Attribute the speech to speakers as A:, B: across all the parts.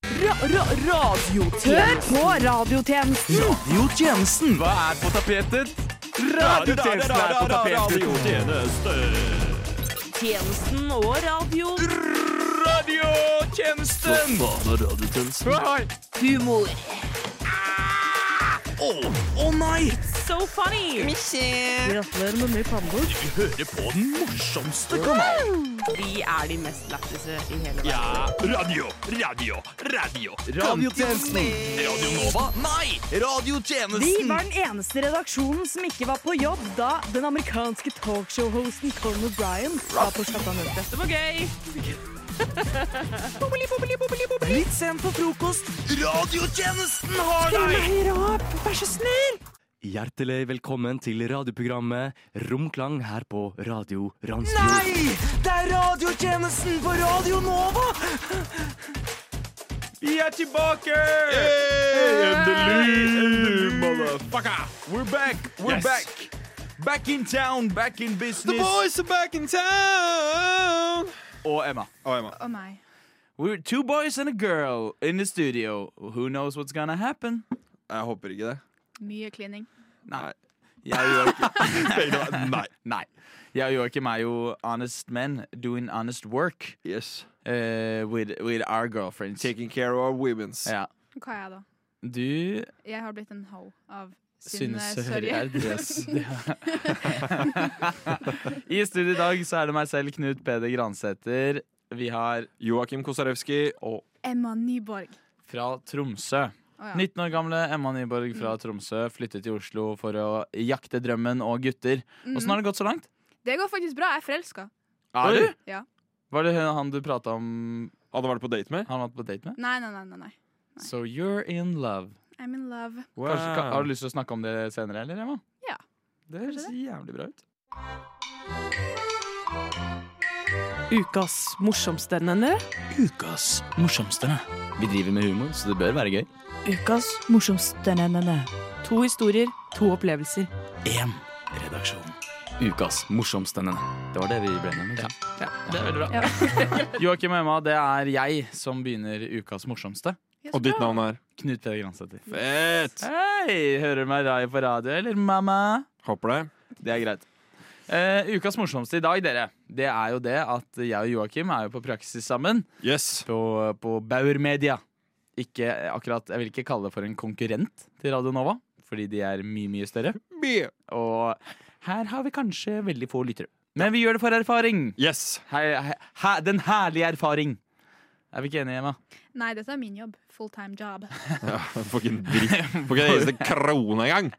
A: ra, ra, radiotjenester.
B: på radiotjenesten!
C: Radiotjenesten. Hva er på tapetet? Radiotjenesten er på tapetet.
A: Tjenesten og radio.
C: Radiotjenesten! Hva faen er radiotjenesten? Å
A: Humor.
C: nei!
A: So funny.
B: Gratulerer med ny pannebok.
C: Vi hører på den morsomste kanalen.
A: Vi er de mest lættise i hele verden.
C: Ja, radio, radio, radio. Radiotjenesten. Radio Nova? Nei!
B: Vi
C: Radiotjenesten.
B: var den eneste redaksjonen som ikke var på jobb da den amerikanske talkshow-hosten Colin O'Brien var på skattamøte.
A: Det var gøy.
C: Litt sent på frokost. Radiotjenesten har
B: Kom
C: deg!
B: her opp, vær så snill!
D: Hjertelig velkommen til radioprogrammet Romklang her på Radio Ransfjord.
C: Nei! Det er radiotjenesten på Radio Nova!
D: Vi er tilbake!
C: Endelig, motherfucker! We're back, we're
D: Yes.
C: back. Back in town, back in business.
E: are back in town!
C: Og Emma.
E: Oh, Emma.
F: Å nei.
C: We're two boys and a girl in the studio. Who knows what's gonna happen?
E: Jeg håper ikke det.
F: Mye klining.
C: Nei. Jeg og Joakim,
E: Nei.
C: nei. Jeg og Joakim er jo honest men doing honest work
E: Yes.
C: eh, with, with our girlfriends.
E: Taking care of our women's.
C: Ja.
F: Hva er jeg da?
C: Du
F: Jeg har blitt en ho av eh, Synne
C: synes
F: Sørje.
C: Yes. I studio i dag så er det meg selv, Knut Peder Gransæter. Vi har
E: Joakim Kosarewski og
F: Emma Nyborg.
C: fra Tromsø.
F: Å ja. Mm.
C: 19 år gamle Emma Nyborg fra Tromsø flyttet til Oslo for å jakte drømmen og gutter.
F: Mm.
C: Åssen har det gått så langt?
F: Det går faktisk bra. Jeg er forelska.
C: Er du?
F: Ja.
C: Var det han du prata om
E: hadde vært på date med.
C: han var på date med?
F: Nei, nei, nei, nei, nei.
C: So you're in love.
F: I'm in love.
C: Kanskje, ka- har du lyst til å snakke om det senere, eller, Emma?
F: Ja.
C: Det høres jævlig bra ut.
G: Ukas morsomstendende.
D: Ukas morsomste. Vi driver med humor, så det bør være gøy.
G: Ukas morsomstendende. To historier, to opplevelser.
D: Én redaksjon. Ukas morsomste. Det var det vi ble enige om. ikke sant?
C: Det er veldig bra. Joakim og Emma, det er jeg som begynner ukas morsomste.
F: Ja, så
E: Og ditt
F: bra.
E: navn er
C: Knut Peder Gransæter.
E: Fett!
C: Hei! Hører du meg rai på radio, eller mamma?
E: Håper det.
C: Det er greit. Eh, ukas morsomste i dag, dere, det er jo det at jeg og Joakim er jo på praksis sammen.
E: Yes.
C: På, på Bauer Media. Ikke akkurat, Jeg vil ikke kalle det for en konkurrent til Radio Nova, fordi de er mye, mye større. Og her har vi kanskje veldig få lyttere. Men vi gjør det for erfaring.
E: Yes.
C: Hei, hei, hæ- den herlige erfaring. Er vi ikke enige, Emma?
F: Nei, dette er min jobb. Fulltime job.
E: Får ikke en dritt. Får ikke en eneste krone engang.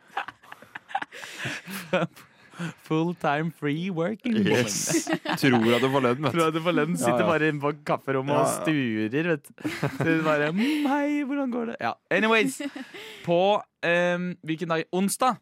C: Full time free working woman.
E: Yes. Tror jeg det var lønn, vet du.
C: Tror jeg det forleden
E: Ja,
C: sitter
E: ja.
C: bare inne på kafferommet og sturer, vet du. Så det bare mm, Hei, hvordan går det? Ja. Anyways. På em, hvilken dag? Onsdag.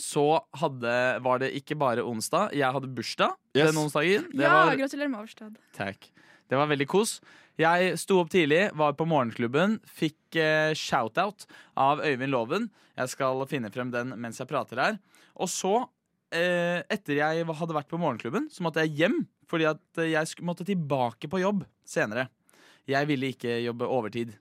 C: Så hadde, var det ikke bare onsdag. Jeg hadde bursdag
E: Yes.
C: den onsdagen. Det
F: Ja,
C: var,
F: gratulerer med overstått.
C: takk. Det var veldig kos. Jeg sto opp tidlig, var på morgenklubben, fikk eh, shout-out av Øyvind Loven. Jeg skal finne frem den mens jeg prater her. Og så, eh, etter jeg hadde vært på morgenklubben, så måtte jeg hjem. Fordi at eh, jeg sk- måtte tilbake på jobb senere. Jeg ville ikke jobbe overtid.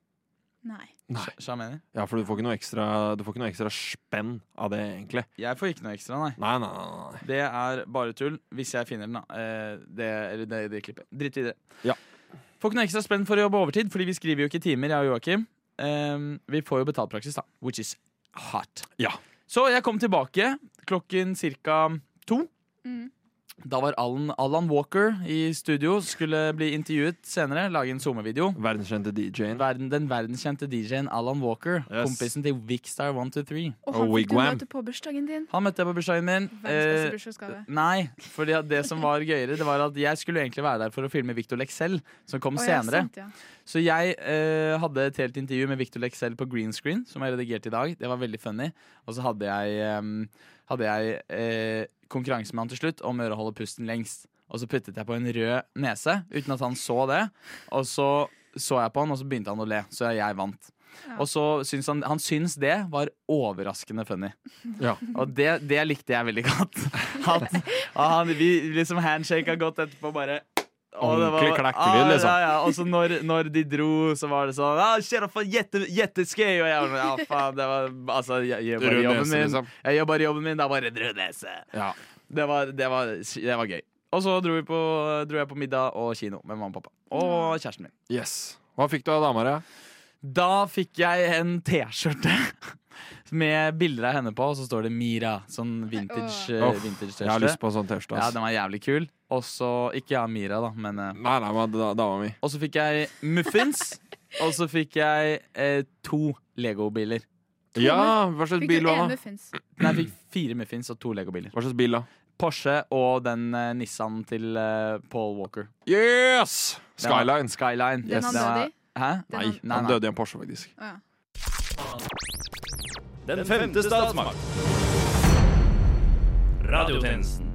F: Nei.
E: Nei.
C: Skjønner du hva Jeg, mener?
E: Ja, for du får ikke noe ekstra, du får ikke noe ekstra spenn av det, egentlig.
C: jeg får ikke noe ekstra, nei.
E: Nei, nei, nei. nei.
C: Det er bare tull, hvis jeg finner den, da. Eh, Det, eller det, det klippet. Dritt i det.
E: Ja.
C: Får ikke noe ekstra spenn for å jobbe overtid, fordi vi skriver jo ikke timer, jeg og Joakim. Eh, vi får jo betalt praksis, da. Which is hot.
E: Ja.
C: Så jeg kom tilbake klokken cirka to.
F: Mm.
C: Da var Alan, Alan Walker i studio, skulle bli intervjuet senere, lage en SoMe-video.
E: Verdenskjente DJ-en.
C: Verden, den verdenskjente DJ-en Alan Walker,
E: Yes.
C: kompisen til Vicstar123.
F: Og
E: Og
F: han fikk du
E: wigwam.
F: møte på bursdagen din.
C: Han møtte jeg på bursdagen min.
F: Verdens beste
C: Eh,
F: bursdagsgave.
C: Nei, for det som var gøyere, det var at jeg skulle egentlig være der for å filme Victor Lexell, som kom
F: Å, ja,
C: senere.
F: sant, ja.
C: Så jeg eh, hadde et helt intervju med Victor Lexell på green screen, som jeg redigerte i dag. Det var veldig funny. Og så hadde jeg, em, hadde jeg eh, konkurranse med han til slutt om å gjøre å holde pusten lengst. Og så puttet jeg på en rød nese uten at han så det. Og så så jeg på han, og så begynte han å le. Så jeg vant.
F: Ja.
C: Og så syns han, han syns det var overraskende funny.
E: Ja.
C: Og det, det likte jeg veldig godt. At, at han, vi liksom handshaka godt etterpå, bare Og det var-
E: Ordentlig klekkelyd, liksom.
C: Ja, ja, ja. Og så når, når de dro, så var det sånn ah, shit, for jette, Jetteskøy! Og jeg var sånn, ja, faen, det var Altså, jeg jeg gjør bare
E: Rød
C: jobben
E: nese,
C: min.
E: liksom.
C: Jeg gjør bare jobben min, det er bare en rød nese.
E: Ja.
C: Det var, det var, det var gøy. Og så dro, vi på, dro jeg på middag og kino med mamma og pappa. Og kjæresten min.
E: Yes. Hva fikk du av dama di?
C: Da fikk jeg en T-skjorte med bilder av henne på, og så står det Mira. Sånn vintage eh,
E: Uff,
C: vintage-T-skjorte.
E: Jeg har lyst på en sånn T-skjorte.
C: Ja,
E: ass.
C: den var jævlig kul. Og så Ikke ja, Mira, da, men eh,
E: Nei, nei, men da- dama mi.
C: Og så fikk jeg muffins. og så fikk jeg eh, to Lego-biler.
E: Ja, hva slags
F: Fikk
E: bil
F: du
E: da?
F: en muffins?
C: Nei, jeg fikk fire muffins og to Lego-biler.
E: Hva slags bil da?
C: Porsche og den eh, Nissan til eh, Paul Walker.
E: Yes!
C: Den var-
E: Skyline.
C: Skyline.
F: Den han
C: Den var-
F: døde i?
C: Hæ?
F: Den
E: Nei,
F: han-
E: han døde i en Porsche, faktisk.
F: Å, ja.
H: Den femte statsmakt. Radiotjenesten.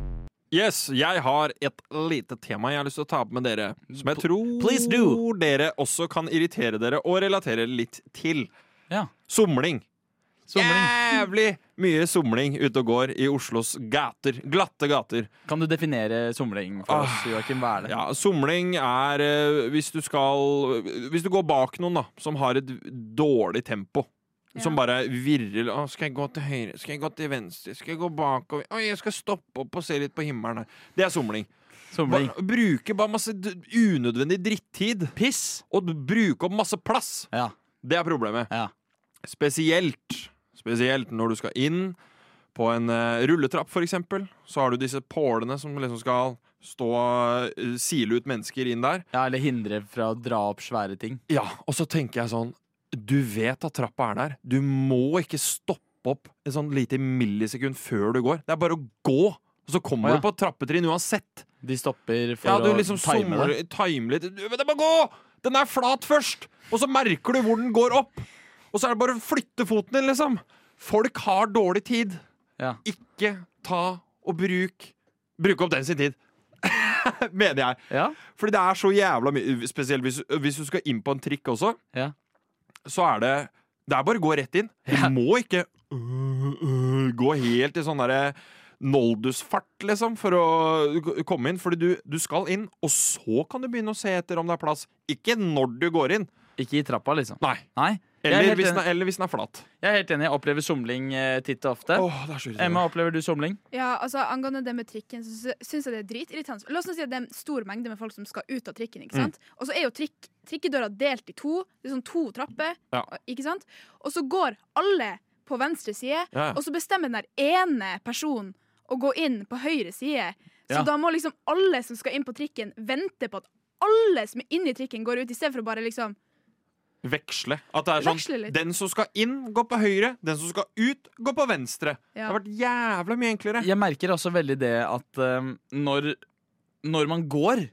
E: Yes, jeg har et lite tema jeg har lyst til å ta opp med dere. Som jeg
C: please
E: tror
C: do.
E: dere også kan irritere dere og relatere litt til.
C: Ja.
E: Somling.
C: Somling.
E: Jævlig mye somling ute og går i Oslos gater. Glatte gater.
C: Kan du definere somling for oss, Joakim? Hva er det?
E: Ah, Ja, somling er eh, hvis du skal Hvis du går bak noen da som har et dårlig tempo.
F: Ja.
E: Som bare virrer. Å, skal jeg gå til høyre? Skal jeg gå til venstre? Skal jeg gå bakover? Å, jeg skal stoppe opp og se litt på himmelen her. Det er somling.
C: Somling.
E: Bare, bruke bare masse d- unødvendig drittid
C: Piss.
E: og bruke opp masse plass.
C: Ja.
E: Det er problemet.
C: Ja.
E: Spesielt, spesielt når du skal inn på en eh, rulletrapp, for eksempel. Så har du disse pålene som liksom skal stå eh, sile ut mennesker inn der.
C: ja, eller hindre fra å dra opp svære ting.
E: Ja, og så tenker jeg sånn Du vet at trappa er der. Du må ikke stoppe opp et sånn lite millisekund før du går. Det er bare å gå, og så kommer
C: Å, ja.
E: du på et trappetrinn uansett.
C: De stopper for
E: Ja, du
C: å
E: liksom
C: time
E: somler,
C: det.
E: time litt Du, Men det må gå! Den er flat først! Og så merker du hvor den går opp! Og så er det bare å flytte foten din, liksom! Folk har dårlig tid.
C: Ja.
E: Ikke ta og bruk Bruk opp den sin tid! Mener jeg.
C: Ja.
E: Fordi det er så jævla mye Spesielt hvis, eh, hvis du skal inn på en trikk også,
C: Ja.
E: så er det Det er bare å gå rett inn. Du må ikke øh, øh, gå helt i sånn derre Noldus-fart, liksom, for å k- komme inn. Fordi du, du skal inn, og så kan du begynne å se etter om det er plass. Ikke når du går inn.
C: Ikke i trappa, liksom.
E: Nei.
C: Nei. Jeg er
E: Eller,
C: helt
E: hvis
C: enig.
E: den, er- eller hvis den er flat.
C: Jeg er helt enig. Jeg opplever somling eh, titt og ofte.
E: Åh, det er så
C: Emma,
E: irriterende.
C: opplever du somling?
F: Ja, altså Angående det med trikken, så sy- syns jeg det er dritirriterende. La oss nå si at det er en stor mengde med folk som skal ut av trikken. ikke
E: Mm.
F: sant? Og så er jo trikk, trikkedøra delt i to. Det er sånn to trapper.
E: Ja.
F: ikke sant? Og så går alle på venstre side,
E: Ja.
F: og så bestemmer den der ene personen å gå inn på høyre side. Så
C: Ja.
F: da må liksom alle som skal inn på trikken, vente på at alle som er inni trikken, går ut, i stedet for å bare liksom
E: Veksle. At det er sånn
F: Veksle litt.
E: Den som skal inn, går på høyre. Den som skal ut, går på venstre. Det
F: Ja.
E: har vært jævla mye enklere.
C: Jeg merker også veldig det at um, når, når man går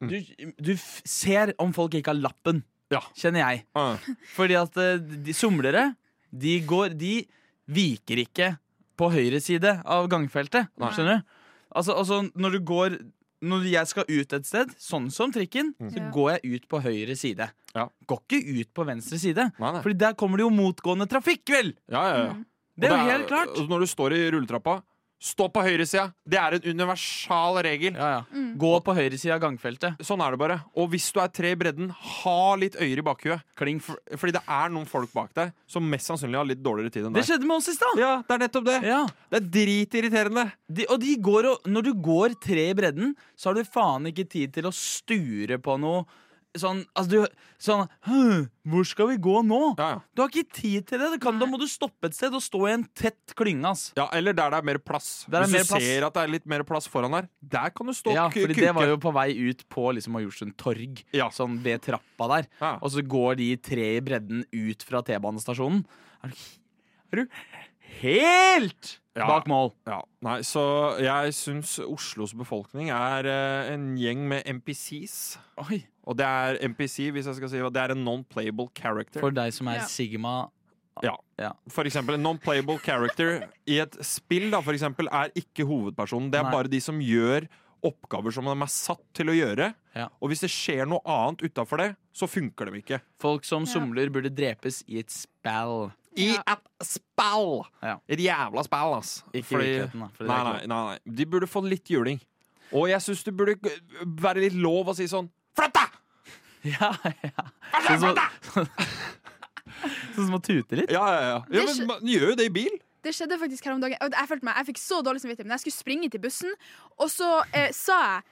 C: du, du f ser om folk ikke har lappen,
E: Ja.
C: kjenner jeg.
E: Ah.
C: Fordi at eh, de somlere, de går De viker ikke på høyre side av gangfeltet.
F: Nei.
C: Skjønner du? Altså, altså når du går Når jeg skal ut et sted, sånn som trikken, så
F: Ja.
C: går jeg ut på høyre side.
E: Ja.
C: Går ikke ut på venstre side.
E: Nei, nei.
C: Fordi der kommer det jo motgående trafikk, vel!
E: Ja, ja, ja.
C: Det er
E: Og
C: jo helt klart.
E: og Når du står i rulletrappa, stå på høyresida. Det er en universal regel.
C: Ja, ja. Gå på høyre side av gangfeltet.
E: Sånn er det bare. Og hvis du er tre i bredden, ha litt øyer i bakhuet.
C: Kling
E: For, fordi det er noen folk bak deg som mest sannsynlig har litt dårligere tid enn
C: Det
E: deg.
C: skjedde med oss i stad!
E: Ja, det er nettopp det.
C: Ja.
E: Det er dritirriterende.
C: De, og de går og, når du går tre i bredden, så har du faen ikke tid til å sture på noe sånn Altså, du Sånn «Hm, Hvor skal vi gå nå?
E: Ja, ja.
C: Du har ikke tid til det. det kan, da må du stoppe et sted og stå i en tett klynge, ass.
E: ja, Eller der det er mer plass.
C: Der er
E: hvis
C: mer
E: du
C: plass.
E: ser at det er litt mer plass foran der, der kan du stå
C: Ja,
E: og ku-
C: fordi
E: kuke.
C: det var jo på vei ut på liksom Majorstuen torg,
E: Ja.
C: sånn ved trappa der.
E: Ja.
C: Og så går de tre i bredden ut fra T-banestasjonen. Er du, er du helt
E: Ja.
C: bak mål?
E: Ja, nei, Så jeg syns Oslos befolkning er eh, en gjeng med MPCs.
C: Oi.
E: Og det er MPC, hvis jeg skal si det, det er en non-playable character.
C: For deg som er
F: Ja.
C: Sigma
E: For eksempel, en non-playable character i et spill da, for eksempel, er ikke hovedpersonen. Det er
C: Nei.
E: bare de som gjør oppgaver som de er satt til å gjøre.
C: Ja.
E: Og hvis det skjer noe annet utafor det, så funker de ikke.
C: Folk som
F: Ja.
C: somler burde drepes i et spell.
E: I
F: Ja.
E: et spill!
C: Ja.
E: Et jævla spill, ass.
C: Ikke i
E: Fordi-
C: virkeligheten, da. For det
E: Nei,
C: er
E: nei,
C: ikke
E: nei, nei. De burde få litt juling. Og jeg syns det burde g- være litt lov å si sånn Flytt deg!
C: Ja, ja. Sånn som Sånn som å tute litt.
E: Ja, ja, ja. ja
F: Det
E: men
F: skj-
E: man gjør jo det i bil.
F: Det skjedde faktisk her om dagen. og Jeg, følte meg, jeg fikk så dårlig samvittighet, men jeg skulle springe til bussen, og så eh, sa jeg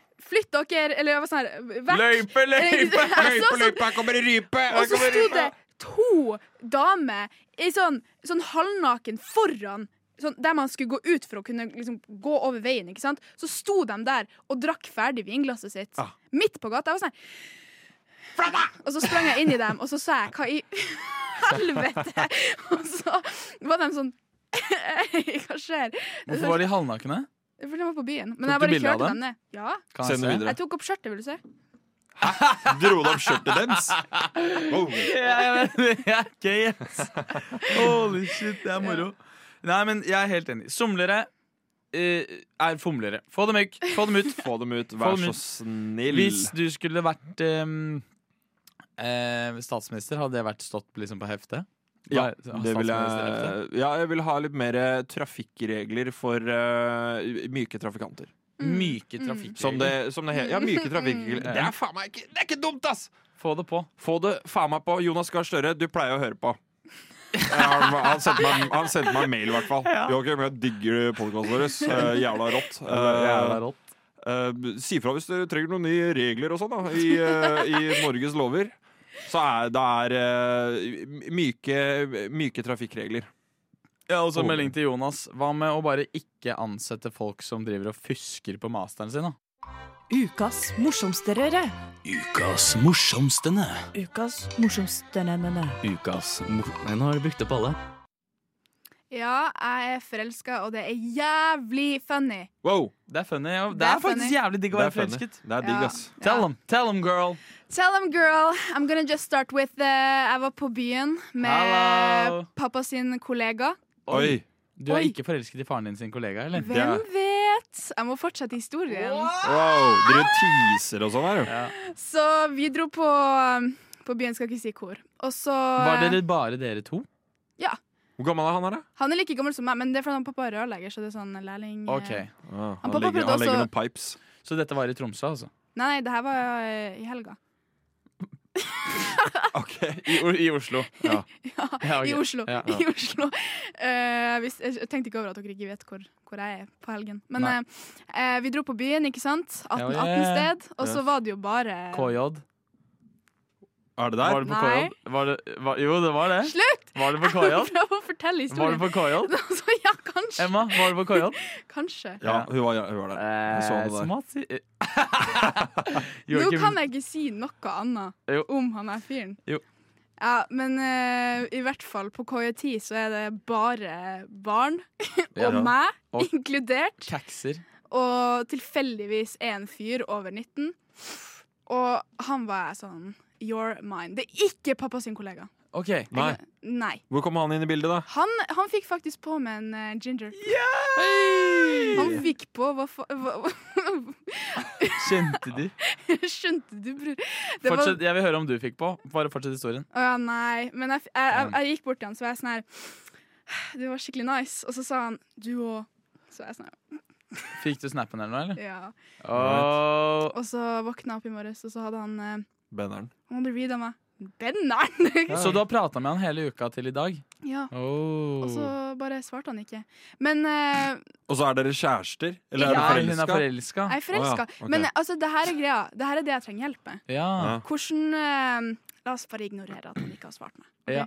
F: 'flytt dere', eller jeg var sånn her vekk. løype, Jeg så løype, sånn- løype,
E: her kommer det rype!
F: Og så sto det to damer i sånn, sånn halvnaken foran sånn, der man skulle gå ut for å kunne liksom, gå over veien. ikke sant? Så sto de der og drakk ferdig vinglasset sitt
E: Ja.
F: midt på gata. Jeg var sånn her, og så sprang jeg inn i dem, og så sa jeg 'hva i helvete'? Og så var de sånn «Hei, Hva skjer?
C: Hvorfor var de halvnakne?
F: For de var på byen.
C: Tok
F: Men jeg
C: du
F: bare
C: bilde av
F: kjørte
C: dem?
F: dem ned. Ja,
C: Kan jeg
E: Send det
C: se?
E: videre.
F: jeg tok opp skjørtet, vil du se.
E: Dro du opp skjørtet deres? Wow.
C: Ja, jeg vet det. Ja, gøy, ass. Holy shit, det er moro. Nei, men jeg er helt enig. Somlere eh, er fomlere. Få dem ut! Få dem ut.
E: Få dem ut,
C: Få
E: vær
C: dem
E: så
C: ut.
E: snill.
C: Hvis du skulle vært ehm, eh, statsminister, hadde det vært stått liksom på heftet?
E: Ja,
C: Hva-
E: det vil jeg,
C: statsministerheftet?
E: ja, jeg vil ha litt mer eh, trafikkregler for eh, myke trafikanter.
C: Myke trafikkregler.
E: Som det, som det he Ja, myke trafikkregler.
C: Mm.
E: Det er faen meg ikke, det er ikke dumt, ass!
C: Få det på.
E: Få det faen meg på. Jonas Gahr Støre, du pleier å høre på. Han, han, sendte meg, han sendte meg en mail, i hvert fall. Joakim, jeg digger podkasten vår. Eh, jævla rått. Eh, eh, si fra hvis du trenger noen nye regler og sånn da, i, eh, i Norges lover. Så er det er, eh, myke, myke trafikkregler.
C: Ja, og så melding til Jonas. Hva med å bare ikke ansette folk som driver og fusker på masteren sin, da?
G: Ukas morsomsterøre.
D: Ukas morsomstene.
G: Ukas morsomsterøre.
D: Ukas mor... Nei, nå har du brukt opp alle.
F: Ja, jeg er forelska, og det er jævlig funny.
E: Wow!
C: Det er funny. Ja. Det, er,
F: Det er
C: faktisk
F: funny.
C: jævlig digg å
E: Det er
C: være
E: funny.
C: forelsket.
E: Det er digg,
F: Ja.
E: ass.
C: Tell them, tell them, girl.
F: Tell them, girl. I'm gonna just start with eh, Jeg var på byen med
C: Hello.
F: pappa sin kollega.
E: Oi!
C: Du er
F: Oi.
C: ikke forelsket i faren din sin kollega, eller?
F: Hvem
E: Ja.
F: vet? Jeg må fortsette historien.
E: Wow, Dere teaser og sånn her, jo.
F: Så vi dro på um, På byen, skal ikke si hvor. Og så
C: Var dere bare dere to?
E: Hvor gammel er han her, da?
F: Han er like gammel som meg, men det er fordi han pappa er rørlegger. Så det er sånn lærling eh.
C: Ok,
E: Ah, han,
F: pappa
E: legger,
F: prøvde
E: han legger
F: også-
E: noen pipes.
C: Så dette var i Tromsø, altså?
F: Nei, nei, det her var eh, i helga.
E: Ok,
C: I, Oslo. Ja. Ja, ok.
F: I Oslo.
C: Ja.
F: I Oslo. Eh, hvis, jeg tenkte ikke over at dere ikke vet hvor, hvor jeg er på helgen. Men
C: Nei.
F: eh, eh, vi dro på byen, ikke sant? 18,
C: Ja, ja,
F: 18
C: ja.
F: sted. Og så var det jo bare
C: KJ?
E: Er det der?
C: Var du på
F: Nei.
C: KJ? Var det, var, jo, det var det.
F: Slutt!
C: Var du på
F: Jeg
C: KJ?
F: prøver å
C: Var
F: fortelle
C: du
F: historien.
C: på KJ?
F: Altså, ja, kanskje.
C: Emma, var du på KJ?
F: kanskje.
E: Ja, hun var, hun var der. Jeg så det der.
C: Eh, Smart si...
F: Nå
C: Joakim-
F: kan jeg ikke si noe annet
C: Jo.
F: om han her fyren.
C: Jo.
F: Ja, men eh, i hvert fall på KJ10 så er det bare barn, og
C: Ja.
F: meg
C: Og-
F: inkludert.
C: Kakser.
F: Og tilfeldigvis er en fyr over 19. Og han var sånn You're mine. Det er ikke pappa sin kollega.
C: OK.
E: Nei.
F: Nei.
E: Hvor kom han inn i bildet, da?
F: Han, han fikk faktisk på med en eh, ginger. Han fikk på Hva faen
C: Kjente de?
F: Skjønte du, bror? Det var,
C: Fortsett, jeg vil høre om du fikk på. Bare fortsett historien.
F: Å ja, nei. Men jeg, f- jeg, jeg, jeg gikk bort til han, så var jeg sånn her Du var skikkelig nice. Og så sa han du òg. Så var jeg sånn her,
C: Fikk du snappen eller noe, eller?
F: ja.
C: Åh,
F: Og så våkna jeg opp i morges, og så hadde han eh,
E: Benneren.
F: Han hadde reada meg. Benneren!
C: Så du har prata med han hele uka til i dag?
F: ja.
C: Oh.
F: Og så bare svarte han ikke. Men eh,
E: Og så er dere kjærester? Eller
C: Ja,
E: er
C: hun
E: dere
C: er
E: forelska?
C: forelska.
F: jeg er forelska.
E: Å ja, ok.
F: Men eh, altså, det her er greia. Det her er det jeg trenger hjelp med.
C: Ja.
E: Ja.
F: Hvordan eh, La oss bare ignorere at han ikke har svart meg. ok?
C: Ja.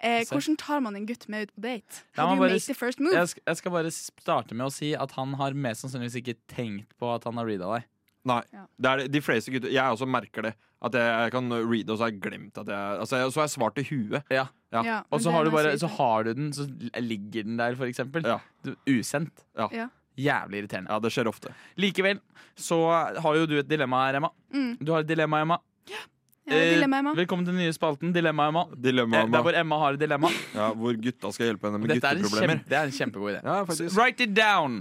F: Eh,
C: Safe.
F: hvordan tar man en gutt med ut på date?
C: Ja,
F: How
C: man
F: do you
C: bare
F: make
C: s-
F: the first move?
C: Jeg, sk jeg skal bare starte med å si at han har mest sannsynligvis ikke tenkt på at han har reada deg.
E: Nei.
F: Ja.
E: Det er det- de fleste gutter Jeg også merker det. At jeg, jeg kan reade, og så har jeg glemt at jeg altså, jeg- Så har jeg svart i huet. ja.
F: Ja, men
C: Og
F: det
C: så har,
F: er
C: du bare,
F: nice
C: så
F: å vite.
C: har du den, så ligger den der, for eksempel.
E: Ja.
C: Du, usendt.
E: Ja.
F: Ja.
C: Jævlig irriterende.
E: Ja, det skjer ofte.
C: Likevel så har jo du et dilemma her, Emma.
F: Mm.
C: Du har et dilemma, Emma.
F: Ja,
C: Eh,
F: dilemma, Emma.
C: Velkommen til den nye spalten Dilemma, Emma. Eh,
E: Dilemmaet
C: Der
E: med
C: hvor Emma har et dilemma.
E: ja, hvor gutta skal hjelpe henne med
C: Dette er en,
E: gutteproblemer.
C: kjempe, det er en kjempegod idé.
E: Ja,
C: Så
E: faktisk.
C: Write it down!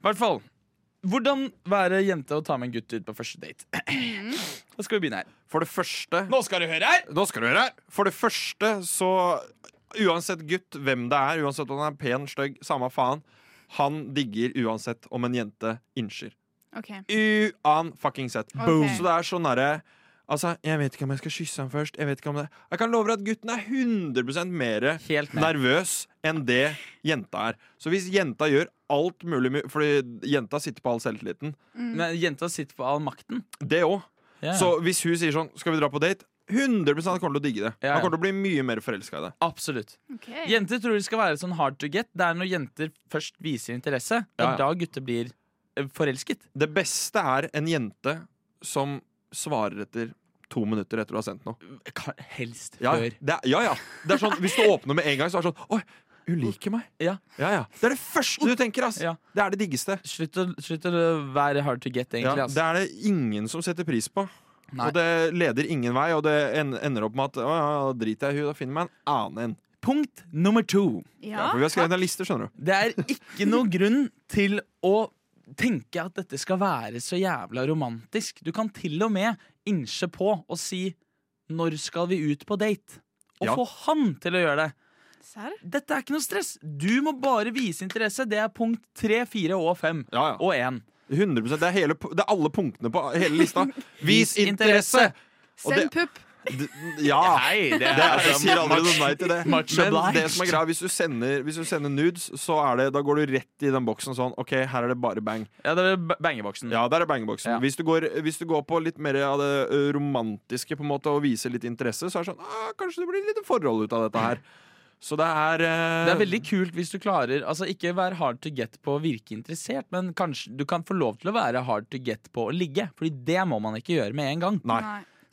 C: I hvert fall. Hvordan være jente og ta med en gutt ut på første date? Da skal vi begynne her.
E: For det første
C: Nå skal du høre her!
E: Nå skal du høre her! For det første, så Uansett gutt, hvem det er, uansett om han er pen, stygg, samme faen. Han digger uansett om en jente innskyr.
F: OK.
E: Uan-fucking-sett.
F: Boom.
E: Så det er sånn derre Altså, Jeg vet ikke om jeg skal kysse ham først. Jeg vet ikke om det Jeg kan love deg at gutten er 100 mer
C: Helt ned.
E: nervøs enn det jenta er. Så hvis jenta gjør alt mulig mu- Fordi jenta sitter på all selvtilliten.
F: Mm.
C: Men jenta sitter på all makten.
E: Det òg.
C: Ja.
E: Så hvis hun sier sånn 'Skal vi dra på date?' 100 kommer til å digge det.
C: Ja, ja.
E: Han kommer til å bli mye mer forelska i det.
C: Absolutt.
F: ok.
C: Jenter tror de skal være sånn hard to get. Det er når jenter først viser interesse. Det
E: Ja,
C: er
E: ja.
C: da gutter blir eh, forelsket.
E: Det beste er en jente som svarer etter to minutter etter du har sendt noe.
C: Ka- Helst
E: Ja,
C: før.
E: det er, ja, ja. Det er sånn, hvis du åpner med en gang, så er det sånn Oi, hun liker meg.
C: Ja.
E: Ja, ja. Det er det første du tenker, ass.
C: Ja.
E: Det er det diggeste.
C: Slutt å, slutt å være hard to get,
E: Ja,
C: egentlig. ass.
E: det er det ingen som setter pris på.
C: Nei.
E: Og det leder ingen vei, og det en- ender opp med at Å ja, da driter jeg i hun, da finner jeg meg en annen en.
C: Punkt nummer to.
E: Ja,
F: Ja.
E: for vi har skrevet en liste, skjønner du.
C: Det er ikke noe grunn til å tenke at dette skal være så jævla romantisk. Du kan til og med innse på og si 'når skal vi ut på date?' Og
E: Ja.
C: få han til å gjøre det.
F: Serr?
C: Dette er ikke noe stress. Du må bare vise interesse. Det er punkt tre, fire og fem.
E: Ja, ja.
C: Og én.
E: 100 det er, hele, pu- det er alle punktene på hele lista. Vis interesse! Og det-
F: Send pupp.
E: D ja.
C: Nei, det altså
E: Det er, jeg sier allerede nei til det. Men
C: much obliged.
E: det som er greia, hvis du sender, hvis du sender nudes, så er det, da går du rett i den boksen sånn OK, her er det bare bang.
C: Ja, det er ba- bangeboksen.
E: Ja, der er bangeboksen.
C: Mm. Ja.
E: Hvis, du går, hvis du går på litt mer av det ø, romantiske på en måte og viser litt interesse, så er det sånn ah, Kanskje det blir litt forhold ut av dette her. Så det er eh,
C: Det er veldig kult hvis du klarer Altså Ikke vær hard to get på å virke interessert, men kanskje du kan få lov til å være hard to get på å ligge. Fordi det må man ikke gjøre med en gang.
E: Nei.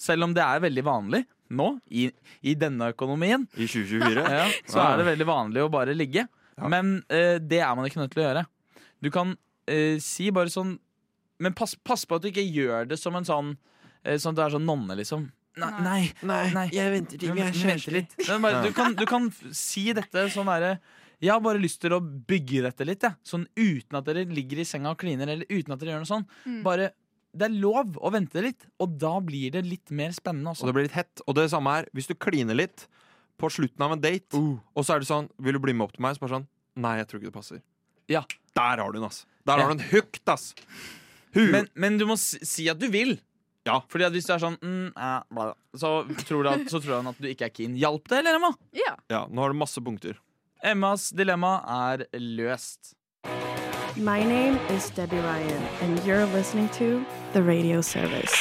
C: Selv om det er veldig vanlig nå, i, i denne økonomien,
E: I 2024.
C: ja, så er det
E: Ah.
C: veldig vanlig å bare ligge. Men eh, det er man ikke nødt til å gjøre. Du kan eh, si bare sånn Men pass, pass på at du ikke gjør det som en sånn eh, Sånn at du er sånn nonne, liksom. Nei,
F: Nei.
C: nei,
E: Nei, jeg venter til vi er
C: Vent
E: kjærester.
C: litt. Men bare, du, kan, du kan f- si dette sånn derre Jeg har bare lyst til å bygge dette litt, jeg. Sånn uten at dere ligger i senga og kliner, eller uten at dere gjør noe sånn.
F: Mm.
C: Bare Det er lov å vente litt, og da blir det litt mer spennende altså.
E: Og
C: også.
E: det blir litt hett. Og det samme er hvis du kliner litt på slutten av en date,
C: Uh.
E: og så er det sånn Vil du bli med opp til meg? Så bare sånn Nei, jeg tror ikke det passer.
C: Ja.
E: Der har du den, ass. Der
C: Ja.
E: har du den hooked, ass. Hu-
C: Men, men du må si, si at du vil.
E: Ja.
C: Fordi at hvis du er sånn mm, eh, bla, bla, så, tror du at, så tror han at du ikke er keen. Hjalp det, eller, Emma?
F: Ja.
E: ja, nå har du masse punkter.
C: Emmas dilemma er løst.
G: My name is Debbie Ryan, and you're listening to The Radio Service.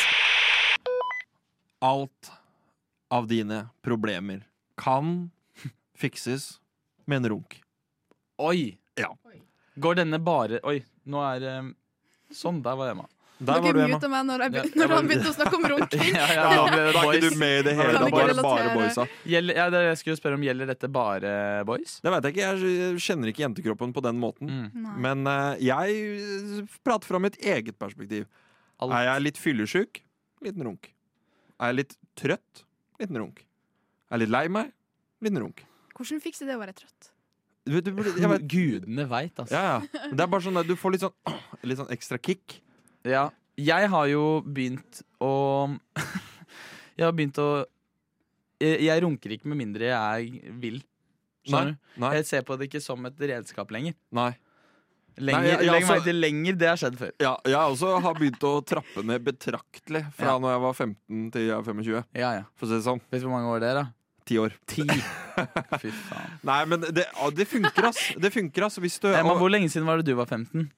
E: Alt av dine problemer kan fikses med en runk.
C: Oi.
E: Ja.
C: Går denne bare Oi, nå er eh, Sånn, der var Emma.
E: Der var du,
F: Dere
E: Emma.
F: muta meg når,
C: Ja,
F: jeg, be-
C: jeg
F: når
C: bare-
F: han begynte å snakke om runking.
C: Ja, ja,
E: Ja,
C: da ble det
E: da er ikke
C: boys.
E: du med i det
C: Kan
E: hele tatt.
F: ikke
E: Bare, bare
F: relatere.
E: boysa.
C: Gjelder, ja, det jeg skulle spørre om Gjelder dette bare boys?
E: Det vet jeg ikke. Jeg kjenner ikke jentekroppen på den måten.
C: Mm.
F: Nei.
E: Men eh, jeg eh, prater fra mitt eget perspektiv.
C: Alt.
E: Er jeg litt fyllesyk? Liten runk. Er jeg litt trøtt? Liten runk. Er jeg litt lei meg? Liten runk.
F: Hvordan fikser det å være trøtt?
E: Du, du, burde- jeg vet,
C: Gudene veit, altså.
E: ja, ja. Men Det er bare sånn at du får litt sånn, «Åh», litt sånn ekstra kick.
C: Ja, jeg har jo begynt å Jeg har begynt å jeg, jeg runker ikke med mindre jeg vil. Skjønner du?
E: Nei.
C: Jeg ser på det ikke som et redskap lenger.
E: Nei.
C: Lenger,
E: Nei, jeg- jeg
C: legg
E: også-
C: merke til lenger det har skjedd før.
E: Ja, jeg også har begynt å trappe ned betraktelig fra
C: Ja.
E: når jeg var 15 til jeg er 25.
C: Ja, ja.
E: For å si det sånn.
C: Vet du hvor mange år det er, da?
E: Ti år.
C: Ti. Fy faen.
E: Nei, men det, ja, det funker, ass. Det funker, ass. Hvis du
C: Emma,
E: og-
C: hvor lenge siden var det du var 15?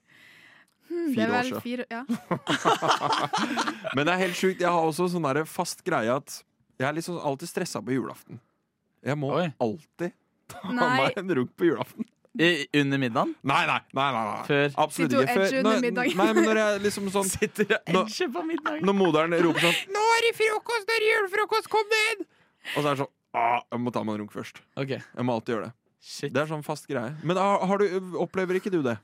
F: Hmm,
E: Fire
F: det er
E: år
F: vel
E: siden.
F: fire ja.
E: Men det er helt sjukt. Jeg har også sånn der fast greie at jeg er liksom alltid stressa på julaften. Jeg må
C: Oi.
E: alltid ta
F: Nei.
E: meg en runk på julaften.
C: I, under middagen?
E: Nei, nei, nei. nei, nei.
C: Før.
E: Absolutt
F: Sitter og
E: ikke. Før-
F: edger under
E: når-
F: middagen.
E: Nei, men når jeg liksom sånn
C: Sitter og
E: Nå-
C: edger på middagen.
E: Når moderen roper sånn 'Nå er det frokost! Det er julefrokost! Kom ned!' Og så er det sånn ah, 'Jeg må ta meg en runk først'.
C: Ok,
E: Jeg må alltid gjøre det.
C: shit.
E: Det er sånn fast greie. Men har, har du, opplever ikke du det?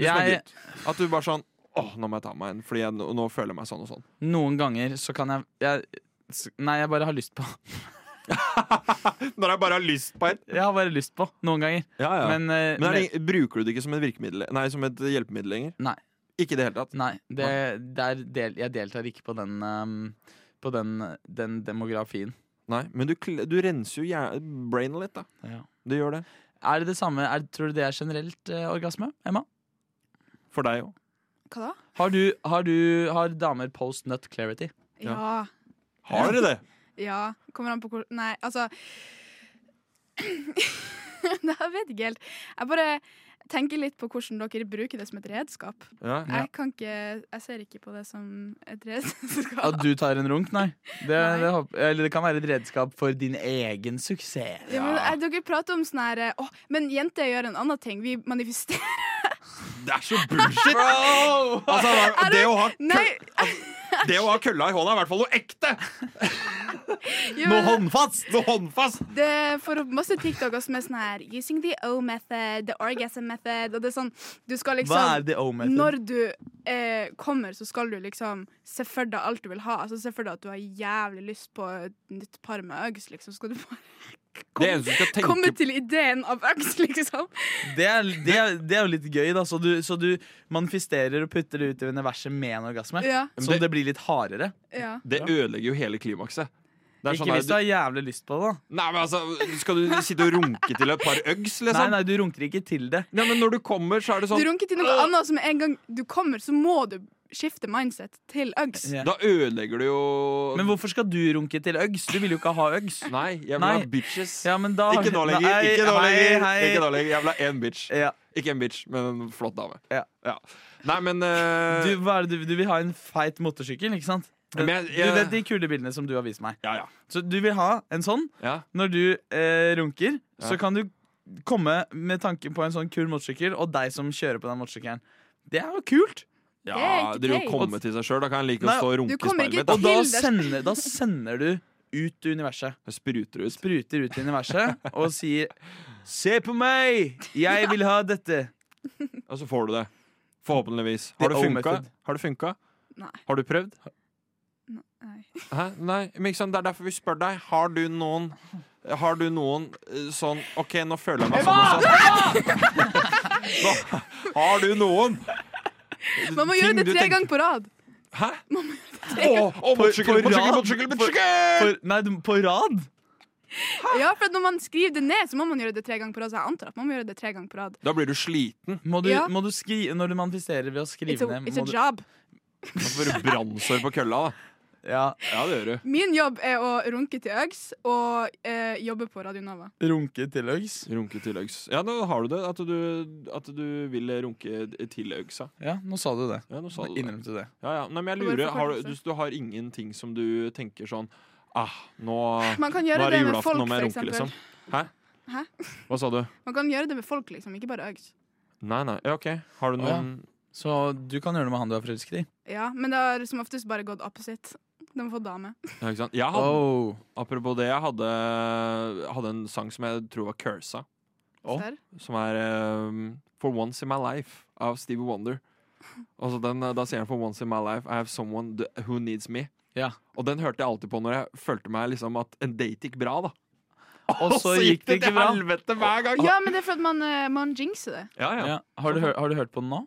E: Du som er
C: Jeg-
E: gutt. At du bare sånn Åh, nå må jeg ta meg en, fordi jeg, nå, nå føler jeg meg sånn og sånn.
C: Noen ganger så kan jeg, jeg s- Nei, jeg bare har lyst på.
E: Når jeg bare har lyst på en.
C: Jeg har bare lyst på, noen ganger.
E: Ja, ja. Men,
C: Men, eh,
E: er det,
C: men-
E: ing- bruker du det ikke som et virkemiddel Nei, som et hjelpemiddel lenger?
C: Nei.
E: Ikke i det hele tatt?
C: Nei, det, der del, jeg deltar ikke på den ehm, På den, den demografien.
E: Nei, Men du, kl- du renser jo hjer- brainet litt, da.
C: Ja.
E: Du gjør det.
C: Er det det samme, er, tror du det er generelt eh, orgasme, Emma?
E: For deg òg.
F: Hva da?
C: Har, du, har, du, har damer post nut clarity?
E: Ja.
F: Ja.
E: Har dere det?
F: Ja. Kommer an på hvor Nei, altså Nei, Jeg vet ikke helt. Jeg bare tenker litt på hvordan dere bruker det som et redskap.
E: Ja.
C: Ja.
F: Jeg kan ikke Jeg ser ikke på det som et
C: At
F: redskap.
C: du tar en runk? Nei. Det,
F: Nei.
C: Det, håper- eller det kan være et redskap for din egen suksess.
F: Ja, men, eh, dere prater om sånn her eh, Å, men jenter gjør en annen ting. Vi manifesterer
E: Det er så bullshit! Altså, det, å ha,
F: Nei!
E: det å ha kølla i hånda er i hvert fall noe ekte!
F: Jo,
E: Noe
F: men-
E: håndfast! Noe håndfast!
F: Det får opp masse TikToker som er sånn her Using the O method, the orgasm method Og det er sånn, du skal liksom
C: Hva er the O-method?
F: Når du eh, kommer så skal du liksom Se for deg alt du vil ha Altså se for deg at du har jævlig lyst på Et nytt par med øgs liksom Skal du bare
E: Det eneste du skal
F: komme
E: tenke
F: til ideen av øgs liksom
C: Det er, det, er, det er jo litt gøy, da. Så du, så du manifesterer og putter det ut i universet med en orgasme.
F: Ja,
C: Så det blir litt hardere.
F: ja
E: Det ødelegger jo hele klimakset. Det er
C: Ikke
E: sånn her-
C: hvis du har jævlig lyst på det, da.
E: Nei, men altså, Skal du sitte og runke til et par øggs,
C: Nei,
E: liksom? Nei,
C: nei, du runker ikke til det.
E: men når du kommer, så er det
F: Du
E: sånn
F: runker til noe annet som en gang du kommer Så må du skifte mindset til øgs
C: Ja.
E: Da ødelegger du jo
C: Men hvorfor skal du runke til øggs? Du vil jo ikke ha øggs.
E: Nei, jeg vil
C: Nei.
E: ha bitches.
C: Ja, men da
E: Ikke nå lenger.
C: Nei,
E: Ikke nå
C: hei,
E: lenger.
C: hei.
E: Ikke nå lenger. Jeg vil ha én bitch.
C: Ja.
E: Ikke en bitch, men en flott dame.
C: Ja.
E: Nei, men eh,
C: Du, hva er det du, du vil ha en feit motorsykkel, ikke sant?
E: Men jeg-
C: Du
E: jeg-
C: vet de kule bildene som du har vist meg.
E: Ja, ja.
C: Så du vil ha en sånn.
E: ja.
C: Når du eh, runker, så
E: Ja.
C: kan du komme med tanke på en sånn kul motorsykkel, og deg som kjører på den motorsykkelen. Det er jo kult!
E: ja
F: er ikke
E: Driver og
F: teit.
E: komme til seg sjøl. Da kan jeg like
C: Nei,
E: å stå og
F: du
E: runke i
F: kommer
E: speilet
F: ikke
E: mitt.
C: Og da
F: Til det-
C: sender, da sender du ut til universet.
E: Jeg spruter ut.
C: Spruter ut i universet og sier 'Se på meg! Jeg vil ha dette!'
E: Og så får du det. Forhåpentligvis.
C: The
E: Har det funka?
C: O-method.
E: Har det funka?
F: Nei.
E: Har du prøvd?
F: Nei.
E: Hæ? Nei, men ikke sant? Det er derfor vi spør deg. Har du noen Har du noen eh, sånn OK, nå føler jeg meg sånn og sånn. Nå, har du noen
F: Man må gjøre
E: ting
F: det
E: du
F: tre
E: tenker-
F: ganger på rad
E: Hæ? Å, å, motorsykkel,
C: på
E: motorsykkel,
C: rad.
E: motorsykkel, motorsykkel!
C: For, nei, du- på rad?
F: Ja, for at når man skriver det ned, så må man gjøre det tre ganger på rad. Så jeg antar at man må gjøre det tre ganger på rad.
E: Da blir du sliten.
C: Må du,
F: Ja.
C: må du skri, når du manifesterer ved å skrive
F: It's a,
C: ned
F: it's a
C: må du,
F: job.
E: Da får du brannsår på kølla. da
C: ja,
E: Ja, det gjør du.
F: Min jobb er å runke til øgs og eh, jobbe på Radio Nova.
C: Runke til øggs?
E: Runke til øks. Ja, nå har du det. At du, at du vil runke til øksa.
C: Ja, nå sa du det.
E: Ja, nå sa du det.
C: Innrømte det.
E: Ja, ja. Nei, men jeg
F: Det var
E: lurer,
F: en
E: har du, du,
F: forkortelse.
E: du har ingenting som du tenker sånn Ah, nå, nå
F: Man kan
E: er
F: gjøre
E: det
F: det med
E: julaften,
F: folk,
E: nå må
F: for
E: jeg runke,
F: eksempel.
E: liksom. Hæ?
F: Hæ?
E: Hva sa du?
F: Man kan gjøre det med folk, liksom, ikke bare øgs.
E: Nei, nei. Ja, OK. Har du
C: Å, ja.
E: noen
C: Så du kan gjøre det med han du er forelsket i.
F: Ja, men det har som oftest bare gått opposite. De får dame.
E: ja, ikke sant? Jeg hadde,
C: Oh.
E: Apropos det, jeg hadde, hadde en sang som jeg tror var cursa.
C: Å.
F: Der.
E: Som er eh, For Once In My Life av Stevie Wonder. Og så den, eh, Da sier han For Once In My Life I have someone th- who needs me.
C: Ja.
E: Og den hørte jeg alltid på når jeg følte meg liksom at en date gikk bra. da
C: Og så gikk det ikke bra.
E: til helvete hver gang!
F: Ja, men det er for at man, eh, man jinxer det.
E: Altså, Ja, ja.
C: Ja. Har, du hør, har du hørt på den nå?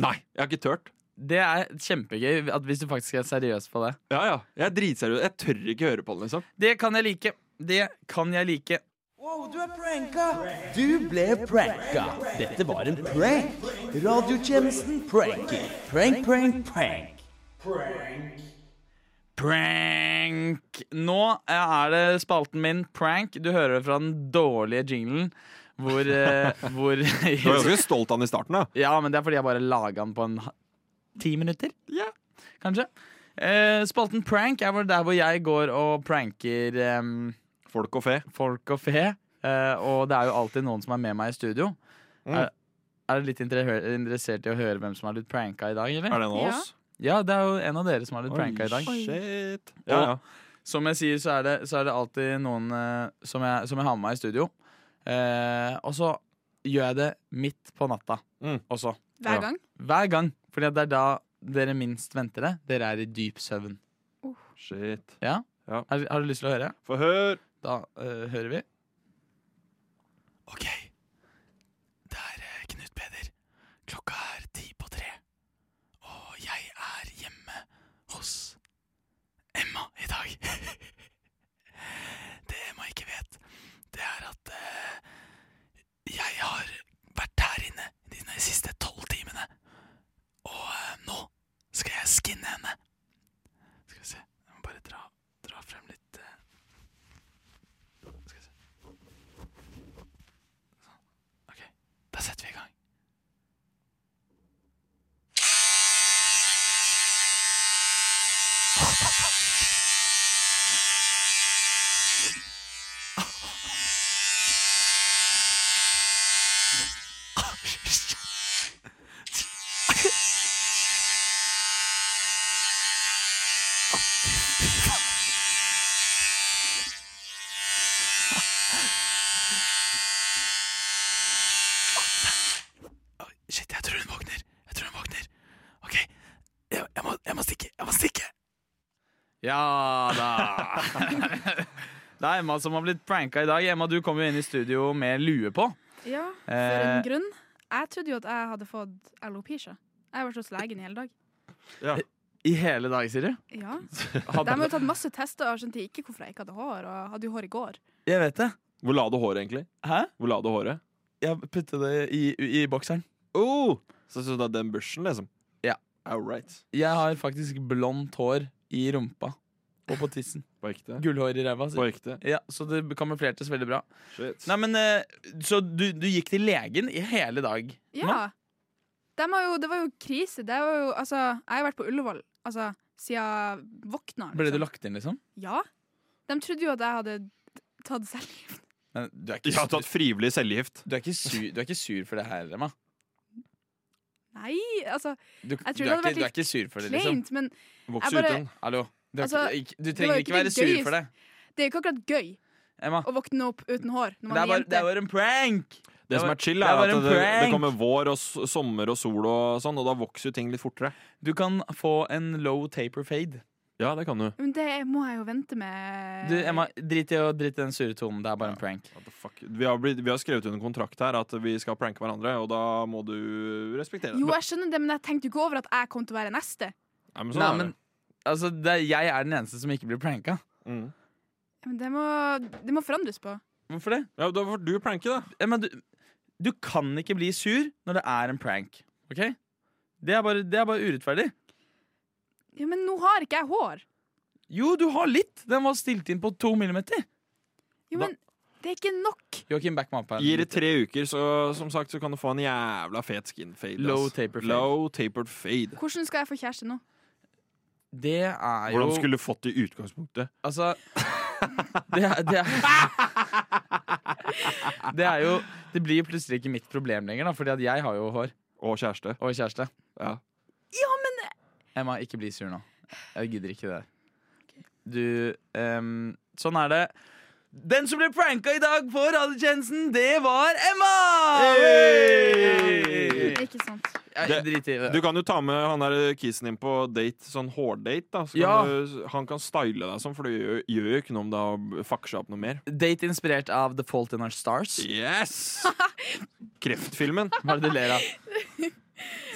E: Nei, jeg har ikke tørt.
C: Det er kjempegøy at hvis du faktisk er seriøs på det.
E: Ja, ja. Jeg er dritseriøs. Jeg tør ikke høre på den. liksom
C: Det kan jeg like. Det kan jeg like.
I: Du ble pranka. Dette var en prank. Radiotjenesten pranker. Prank, prank, prank.
C: Prank! Nå eh, er det spalten min Prank. Du hører det fra den dårlige jinglen hvor, eh, hvor
E: Du var ganske stolt av den i starten. da
C: Ja, men det er fordi jeg bare laga den på en ha- ti minutter. Ja, Kanskje. Eh, spalten Prank er hvor- der hvor jeg går og pranker em,
E: Folk og fe.
C: folk og fe. eh, og det er jo alltid noen som er med meg i studio.
E: Mm.
C: Er, er du litt inter- interessert i å høre hvem som har blitt pranka i dag, eller?
E: Er det en av
F: Ja.
E: oss?
C: Ja, det er jo en av dere som har blitt pranka i dag.
E: Oi, Shit. Ja, ja.
C: Som jeg sier, så er det, så er det alltid noen eh, som, jeg, som jeg har med meg i studio. Eh, og så gjør jeg det midt på natta
E: Mm.
C: også.
E: Ja.
F: Hver gang.
C: Hver gang. Fordi at det er da dere minst venter det. Dere er i dyp søvn.
E: Shit.
C: Har, har du lyst til å høre?
E: Få hør!
C: Da eh, hører vi. OK. Det er eh, Knut Peder. Klokka er ti på tre. Og jeg er hjemme hos Emma i dag. det Emma ikke vet, det er at eh, jeg har vært her inne de siste tolv timene. Og eh, eh. Sånn. setter vi i gang. Shit, jeg tror hun våkner. Jeg tror hun våkner. OK, jeg, jeg, må, jeg må stikke. Jeg må stikke. Ja da. Det er Emma som har blitt pranka i dag. Emma, du kom jo inn i studio med lue på.
F: Ja, for
C: Eh.
F: en grunn. Jeg trodde jo at jeg hadde fått alopecia. Jeg har vært hos legen i hele dag.
C: I hele dag, sier du?
F: Ja. De har
C: Hadde,
F: jo tatt masse tester og skjønte ikke hvorfor jeg ikke hadde hår. Og hadde jo hår i går.
C: jeg vet det.
E: Hvor la du håret, egentlig?
C: Hæ?
E: Hvor la du håret?
C: Jeg putta det i, i bokseren.
E: Oh, så synes du det er den bushen, liksom?
C: Ja.
E: All right.
C: Jeg har faktisk blondt hår i rumpa og på tissen.
E: På ekte?
C: Gullhår i ræva.
E: På
C: sier-
E: ekte?
C: Ja, så det kamuflertes veldig bra.
E: Shit.
C: Nei, men, eh, så du, du gikk til legen i hele dag?
F: Ja. De har jo, det var jo krise. Det var jo, altså, jeg har vært på Ullevål altså, siden jeg våkna.
C: Ble du
F: liksom.
C: lagt inn, liksom?
F: Ja. De trodde jo at jeg hadde tatt selv.
C: Men du er ikke,
E: Jeg har tatt frivillig cellegift.
C: du er ikke, sur, du er ikke sur for det her, Emma?
F: Nei, altså,
C: Du, du,
F: tror det
C: er,
F: hadde vært
C: ikke, du er ikke sur for det, liksom?
F: kleint, men
E: Vokser
F: Jeg bare-
E: uten.
C: Hallo? Du, er
F: Altså,
C: ikke, ikke- du
F: var
C: trenger
F: jo
C: ikke
F: ikke
C: være
F: det
C: sur
F: gøyeste
C: for det,
F: det er jo ikke akkurat gøy
C: Emma.
F: å våkne opp uten hår
C: Det
F: når man
C: er
F: er
C: bare, det
F: jente.
C: er bare en prank!
E: Det som er chill,
C: Det
E: er
C: var
E: at
C: en
E: det, det
C: prank.
E: kommer vår og s- sommer og sol og sånn, og da vokser jo ting litt fortere.
C: Du kan få en low taper fade.
E: Ja, det kan du.
F: Men det må jeg jo vente med.
C: Du, Emma, drit i å drite i den sure tonen. Det er bare en prank.
E: What the fuck? Vi har, blitt, vi har skrevet under kontrakt her at vi skal pranke hverandre, og da må du respektere det.
F: Jo, jeg skjønner det, men jeg tenkte jo ikke over at jeg kom til å være neste.
E: Nei, men sånn
C: Nei,
E: er
C: men altså, det, er- jeg er den eneste som ikke blir pranka.
E: det. Mm.
F: Men det må, det må forandres på.
C: Hvorfor det?
E: Ja, da får du pranke, da.
C: Emma, du, du kan ikke bli sur når det er en prank. OK? Det er bare, det er bare urettferdig.
F: Ja, Men nå har ikke jeg hår.
C: Jo, du har litt. Den var stilt inn på to millimeter.
F: Jo,
E: Da-
F: men det er ikke nok.
C: Joakim, back meg opp her.
E: Gir det tre uker, så som sagt så kan du få en jævla fet skin fade.
C: Low
E: ass.
C: taper fade.
E: Low tapered fade.
F: Hvordan skal jeg få kjæreste nå?
C: Det er jo
E: Hvordan skulle du fått det i utgangspunktet?
C: Altså det er, det, er, det er jo Det blir plutselig ikke mitt problem lenger, da, fordi at jeg har jo hår
E: Og kjæreste.
C: og kjæreste.
E: Ja.
C: Emma, ikke bli sur nå. Jeg gidder ikke det der. Du ehm, Sånn er det. Den som ble pranka i dag på radiotjenesten, det var Emma!
E: Hey!
F: Ikke sant.
C: Jeg driter i det.
E: Du kan jo ta med han der kisen din på date, sånn hårdate. da så kan
C: Ja.
E: du, Han kan style deg sånn, for det gjør, gjør jo ikke noe om det har faksa opp noe mer.
C: Date inspirert av The Fault in Our Stars.
E: Yes! Kreftfilmen.
C: Hva er det du ler av?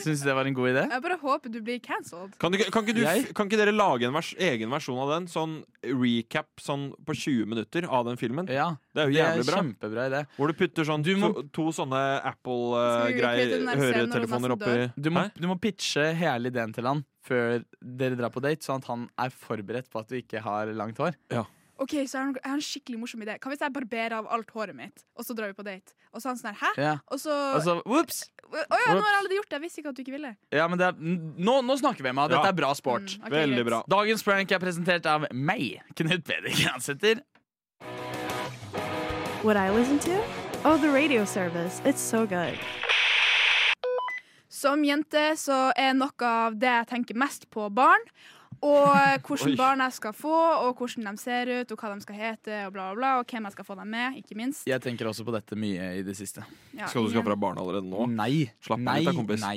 C: Syns du det var en god idé?
F: Jeg bare håper du blir cancelled.
E: Kan, du, ikke- kan, ikke du,
C: Jeg-
E: kan ikke dere lage en vers, egen versjon av den? Sånn recap sånn på 20 minutter av den filmen?
C: Ja,
E: Det er jo
C: Eh, det er
E: jævlig bra.
C: kjempebra idé.
E: Hvor du putter sånn
C: Du må-
E: to, to sånne
F: Skal vi klippe ut den der scenen når hun
E: Apple-høretelefoner
F: nesten
E: oppi
C: Du må,
E: Hæ?
C: du må pitche hele ideen til han før dere drar på date, sånn at han er forberedt på at du ikke har langt hår.
F: Ok, så jeg har en- jeg har en skikkelig morsom idé. Hva hvis jeg barberer av alt håret mitt, og så drar vi på date? Og så er han sånn her, hæ?
C: Ja.
F: Og så Å
C: Altså, whoops!
F: ja, nå har jeg allerede gjort det! Jeg visste ikke at du ikke ville.
C: Ja, men det er, n- nå, nå snakker vi, Emma. Dette
E: Ja.
C: er bra sport.
F: Mm, ok,
E: Veldig
F: greit.
E: bra.
C: Dagens prank er presentert av meg, Knut Peder Gransæter.
G: What I listen to? Oh, the radio service. It's so good.
F: Som jente så er noe av det jeg tenker mest på barn. Og hvordan
E: Oi.
F: barn jeg skal få, og hvordan de ser ut, og hva de skal hete, og bla, bla, bla. Og hvem jeg skal få dem med, ikke minst.
C: Jeg tenker også på dette mye i det siste.
F: Ja,
E: Skal du
F: ingen-
E: skaffe deg barn allerede nå?
C: Nei.
E: Slapp av
C: nei,
E: litt da, kompis.
C: Nei.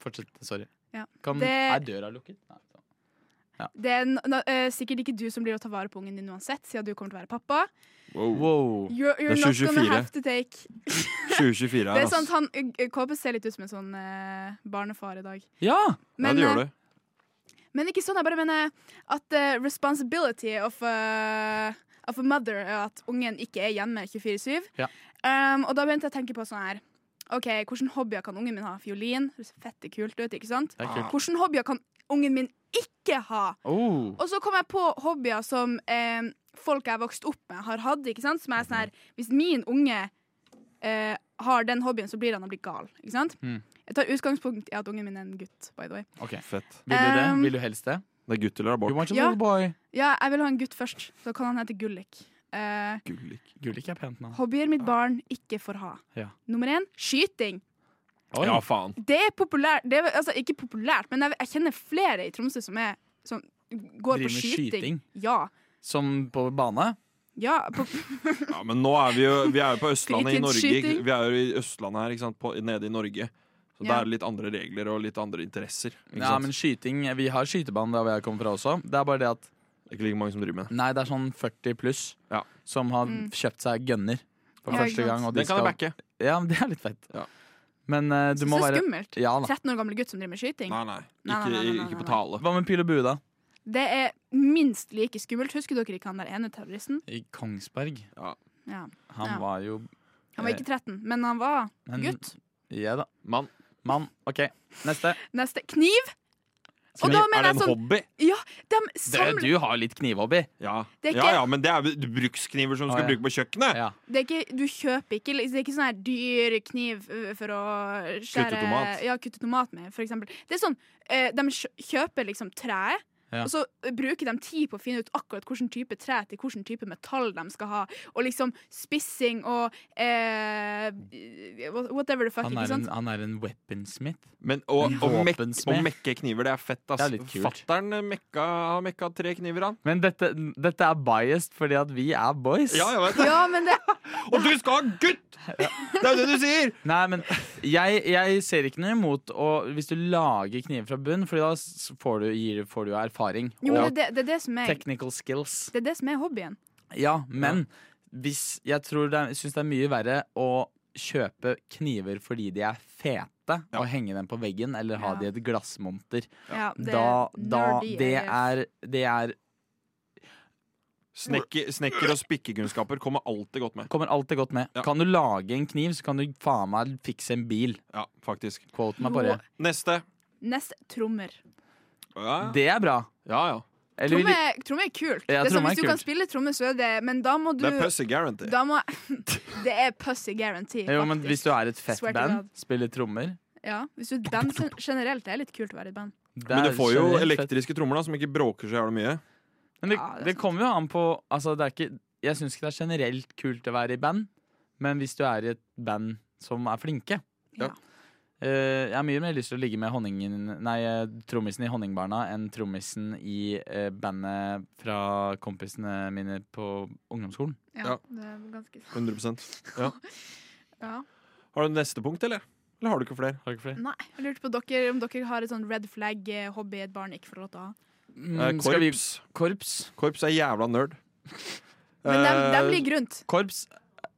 C: Fortsett. Sorry.
F: Ja.
C: Kan,
F: Det-
C: Er døra lukket? Nei. sånn.
F: Det er n- na- eh, sikkert ikke du som blir å ta vare på ungen din uansett, siden du kommer til å være pappa.
E: Wow.
C: Wow.
F: You're, you're
E: Det er
F: not gonna
E: 2024.
F: have to take
E: 2024
F: Det
E: her,
F: er
E: ass.
F: sant, han eh, KB ser litt ut som en sånn eh, barnefar i dag.
C: Ja!
E: Ja,
F: Men,
E: det gjør
F: eh,
E: det.
F: men ikke sånn, jeg bare mener at eh, responsibility of, eh, of a mother er at ungen ikke er hjemme 24-7.
C: Ja.
F: Um, og da begynte jeg å tenke på sånn her OK, hvilke hobbyer kan ungen min ha? Fiolin. Det ser fette kult ut, ikke sant?
C: Det er kult.
F: Hvilke hobbyer kan ungen min ikke ha?
C: Oh.
F: Og så kom jeg på hobbyer som eh, folk jeg har vokst opp med, har hatt. ikke sant? Som er sånn her, Hvis min unge eh, har den hobbyen, så blir han å bli gal. Ikke sant?
C: Mm.
F: Jeg tar utgangspunkt i at ungen min er en gutt, by the way.
C: Ok,
E: Fett.
C: Vil du det?
F: Um,
C: Vil du helst det?
E: Det er gutt eller
C: You
E: abort.
C: want a
F: ja.
C: little boy?
F: Ja, jeg vil ha en gutt først, så kan han hete Gullik. Eh,
E: Gullik.
C: Gullik er pent navn.
F: hobbyer mitt barn ikke får ha.
C: Ja.
F: Nummer én skyting.
C: Oi.
E: Ja, faen.
F: Det er populært. Det er, altså, ikke populært, men jeg, jeg kjenner flere i Tromsø som, er, som går
C: Driver med
F: på skyting.
C: skyting?
F: Ja.
C: Som på bane?
F: ja på,
E: Ja, men nå er vi jo vi er jo på Østlandet i Norge.
F: Fritidsskyting.
E: ikke- Vi er jo i Østlandet her, ikke sant? På, nede i Norge. Så
F: Ja.
E: der er det litt andre regler og litt andre interesser. Ikke
C: Ja,
E: sant?
C: men skyting Vi har skytebane der hvor jeg kommer fra også. Det er bare det at
E: Det er ikke like mange som driver med det.
C: Nei, det er sånn 40 pluss
E: Ja.
C: som har
F: Mm.
C: kjøpt seg gunner for
F: Ja,
C: første
F: ikke sant.
C: gang. Og de
E: Den kan jeg
C: skal-
E: backe.
C: Ja, men det er litt fett.
E: Ja.
C: Men eh, du
F: så
C: må være
F: skummelt.
C: Ja da.
F: 13 år gammel gutt som driver med skyting.
E: Nei, nei.
F: Nei, nei,
E: Ikke,
F: nei, nei, nei,
E: ikke på
F: nei.
E: tale.
C: Hva med pil og bue, da?
F: Det er minst like skummelt. Husker dere ikke han der ene terroristen?
C: I Kongsberg.
F: Ja.
C: Han
F: Ja.
C: var jo
F: Han var
C: Eh,
F: ikke 13, men han var
C: en-
F: gutt.
C: Ja da.
E: Mann.
C: Mann. OK, neste.
F: Neste kniv! Og da
E: Er
F: mener
E: det
F: jeg
E: en
F: sånn
E: hobby?
F: De
C: Du,
F: samler
C: du har litt knivhobby.
E: Ja.
F: Det er
E: ja,
F: ikke-
E: ja, men det er vel brukskniver som du skal
C: Å, ja.
E: bruke på kjøkkenet.
C: Ja.
F: det er ikke, Du kjøper ikke liksom, Det er ikke sånn her dyr kniv ø, for å skjære
E: Kutte tomat.
F: Ja, kutte tomat med, for eksempel. Det er sånn, eh, De kjø- kjøper liksom treet,
C: Ja.
F: og så bruker de tid på å finne ut akkurat hvilken type tre til hvilken type metall de skal ha. Og liksom spissing og eh, whatever the fuck.
C: Han,
F: ikke
C: er en,
F: sant?
C: han er en weaponsmith.
E: Men å, å, mekke, å
C: Våpensmed.
E: mekke kniver, det er fett, ass.
C: Det er litt kult.
E: Fatteren mekka, har mekka tre kniver, han.
C: Men dette, dette er biased fordi at vi er boys.
E: Ja, jeg vet det.
F: Ja, men det
E: Og du skal ha gutt! Det er jo det du sier!
C: Nei, men jeg, jeg ser ikke noe imot å, hvis du lager kniver fra bunn, Fordi da s- får du, gir, får du jo erfaring.
F: Jo,
C: og
F: men det, det, er det, som er,
C: technical skills.
F: det er det som er hobbyen.
C: Ja, men hvis Jeg tror det er, synes det er mye verre å kjøpe kniver fordi de er fete, og henge dem på veggen, eller ha
F: Ja.
C: de i et glassmonter.
F: Ja, det
C: Da,
F: er
C: da
F: nerdy
C: det,
F: AF.
C: er, det er
E: Snekker, snekker og spikkekunnskaper kommer alltid godt med.
C: Kommer alltid godt med.
E: Ja.
C: Kan du lage en kniv, så kan du faen meg fikse en bil.
E: Ja, faktisk.
C: Quote meg på det.
E: Neste.
F: Neste trommer.
E: Ja,
C: Det er bra.
E: ja. ja.
C: Eller vil
F: Tromme,
C: du-
F: tromme er kult.
C: Ja,
F: det er sånn,
C: tromme er
F: hvis du
C: kult.
F: kan spille tromme, så er det Men da må du
E: Det er pussy guarantee.
F: da må, Det er pussy guarantee.
C: jo, men
F: faktisk.
C: hvis du er et fett
F: Swear to
C: band,
F: God.
C: spiller trommer
F: ja, hvis du er et band som- generelt, det er litt kult å være i et band.
C: det
E: Men du
C: er
E: får jo
C: generelt fett.
E: elektriske trommer da, som ikke bråker så jævlig mye.
C: Men det,
F: Ja, det er
C: det
F: sant.
C: kommer jo an på altså, det er ikke, Jeg syns ikke det er generelt kult å være i band, men hvis du er i et band som er flinke
F: Ja.
C: Eh, jeg har mye mer lyst til å ligge med honningen, nei, eh, trommisen i Honningbarna enn trommisen i eh, bandet fra kompisene mine på ungdomsskolen.
F: Ja,
E: Ja.
F: Det er ganske
E: 100 ja.
F: ja.
E: Har du neste punkt, eller? Eller har du ikke flere?
C: Har du ikke flere?
F: Nei, jeg lurte på dere, om dere har et sånn red flag-hobby et barn ikke får lov til å ha.
E: Eh,
C: Mm, skal vi,
E: Korps.
C: korps.
E: Korps er jævla nerd.
F: Men dem, dem
E: Eh,
F: ligger rundt.
C: Korps.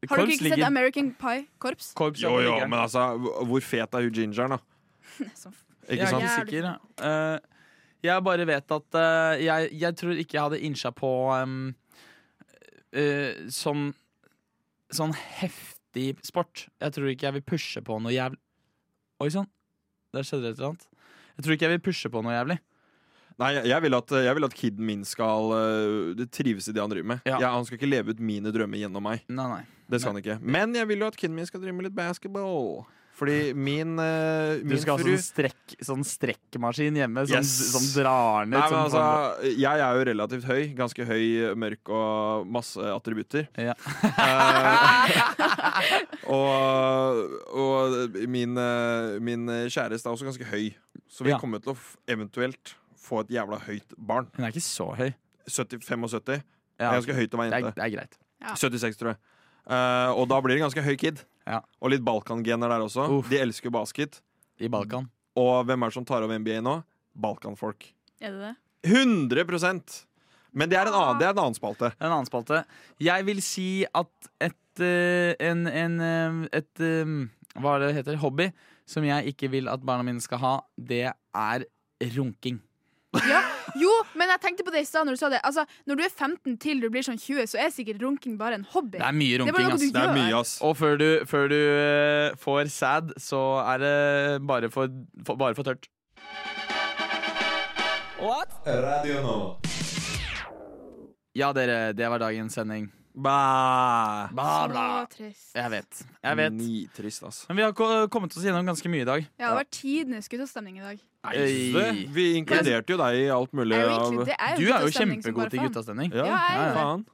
F: Har dere
C: korps
F: ikke sett American Pie-korps?
C: korps
E: Jo, jo, men altså, hvor fet er hun gingeren, da? Ikke
C: jeg
E: sant?
C: er ikke sikker. Eh, jeg bare vet at eh, jeg, jeg tror ikke jeg hadde innsja på em, eh, sånn, sånn heftig sport. Jeg tror ikke jeg vil pushe på noe jævlig Oi sann, der skjedde det et eller annet. Jeg tror ikke jeg vil pushe på noe jævlig.
E: Nei, jeg- jeg vil at, jeg vil at kiden min skal øh, trives i det han driver med.
C: Ja.
E: Jeg, han skal ikke leve ut mine drømmer gjennom meg.
C: Nei, nei.
E: Det skal han ikke. Men jeg vil jo at kiden min skal drive med litt basketball. Fordi min, øh,
C: Du
E: min
C: skal ha
E: fru
C: sånn, strekk, sånn strekkmaskin hjemme sånn som,
E: Yes.
C: som drar ned
E: Nei, men
C: sånn,
E: altså, Jeg er jo relativt høy. Ganske høy, mørk og masse attributter.
C: Ja.
E: Eh, og og min, eh, min kjæreste er også ganske høy, så vi
C: Ja.
E: kommer til å f eventuelt få et jævla høyt barn.
C: Hun er ikke så høy.
E: 70, 75.
C: Ja,
E: Jeg er ganske høy til å
C: det,
E: være
C: er,
E: jente.
C: det er greit.
E: 76, tror jeg. Eh, og da blir det ganske høy kid.
C: Ja.
E: Og litt Balkan-gener der også.
C: Uff.
E: De elsker jo basket.
C: I Balkan.
E: Og hvem er det som tar over NBA nå? Balkanfolk.
F: Er det det?
E: 100 Men det er en annen, det er en annen spalte.
C: En annen spalte. Jeg vil si at et eh, en, en, eh, et eh, Hva er det det heter? Hobby som jeg ikke vil at barna mine skal ha, det er runking.
F: Ja. Jo, men jeg tenkte på det i stad når du sa det. Altså, når du er 15 til du blir sånn 20, så er sikkert runking bare en hobby.
C: Det er mye
F: er bare
C: runking,
F: noe
C: ass.
F: du
E: Det er
F: gjør.
E: mye, ass.
C: Og før du, før du eh, får sæd, så er det bare for, for, bare for tørt. Ja, dere, det var dagens sending.
E: Bæ.
C: Bla, bla.
F: Så trist.
C: Jeg vet. Jeg vet.
E: Nitrist, ass.
C: Men vi har ko- kommet oss gjennom ganske mye i dag.
F: Ja, det var tidenes guttastemning i dag.
E: Nei,
C: Øy.
E: det- Vi inkluderte jo deg i alt mulig
F: Det er jo
E: av
F: egentlig, det er
C: Du
F: jo
C: er jo
F: guttastemning som bare
C: kjempegod til
F: faen.
C: guttastemning.
E: Ja,
F: Ja, jeg er jo det.
E: faen.